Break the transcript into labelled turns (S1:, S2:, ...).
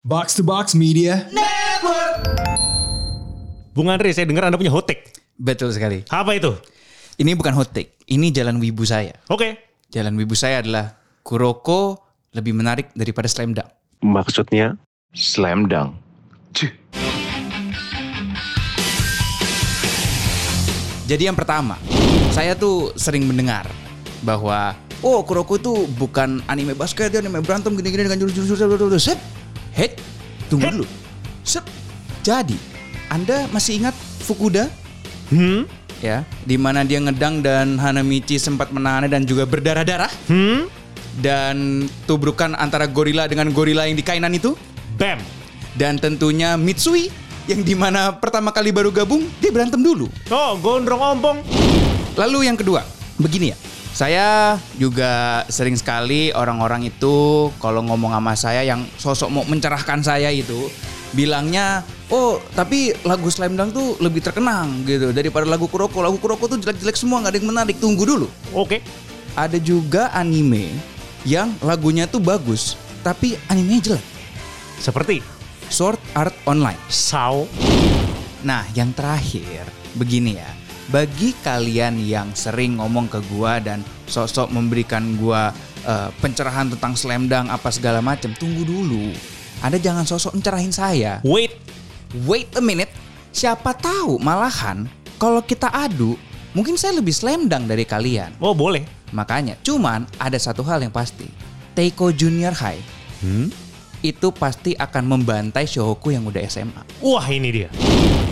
S1: Box to Box Media.
S2: Bung Andre, saya dengar Anda punya hotek.
S3: Betul sekali.
S2: Apa itu?
S3: Ini bukan hot take. Ini jalan wibu saya.
S2: Oke.
S3: Jalan wibu saya adalah Kuroko lebih menarik daripada Slam Dunk.
S4: Maksudnya slam dunk.
S3: Jadi yang pertama, saya tuh sering mendengar bahwa oh Kuroko tuh bukan anime basket, dia anime berantem gini-gini dengan jurus-jurus blablabla." Sep. Hei, tunggu
S2: Hei.
S3: dulu. Sep. Jadi, Anda masih ingat Fukuda?
S2: Hmm?
S3: Ya, di mana dia ngedang dan Hanamichi sempat menahannya dan juga berdarah-darah
S2: Hmm?
S3: dan tubrukan antara gorila dengan gorila yang di kainan itu
S2: Bam.
S3: dan tentunya Mitsui yang dimana pertama kali baru gabung dia berantem dulu.
S2: Oh, gondrong ompong.
S3: Lalu yang kedua, begini ya. Saya juga sering sekali orang-orang itu kalau ngomong sama saya yang sosok mau mencerahkan saya itu bilangnya, "Oh, tapi lagu Slam Dunk tuh lebih terkenang gitu daripada lagu Kuroko. Lagu Kuroko tuh jelek-jelek semua, nggak ada yang menarik. Tunggu dulu."
S2: Oke.
S3: Ada juga anime yang lagunya tuh bagus, tapi animenya jelek.
S2: Seperti
S3: Sword Art Online.
S2: Sao.
S3: Nah, yang terakhir, begini ya. Bagi kalian yang sering ngomong ke gua dan sosok memberikan gua eh, pencerahan tentang slam dunk apa segala macam, tunggu dulu. Anda jangan sosok mencerahin saya.
S2: Wait.
S3: Wait a minute. Siapa tahu malahan kalau kita adu, mungkin saya lebih slam dunk dari kalian.
S2: Oh, boleh.
S3: Makanya, cuman ada satu hal yang pasti. Teiko Junior High itu pasti akan membantai Shohoku yang udah SMA.
S2: Wah, ini dia.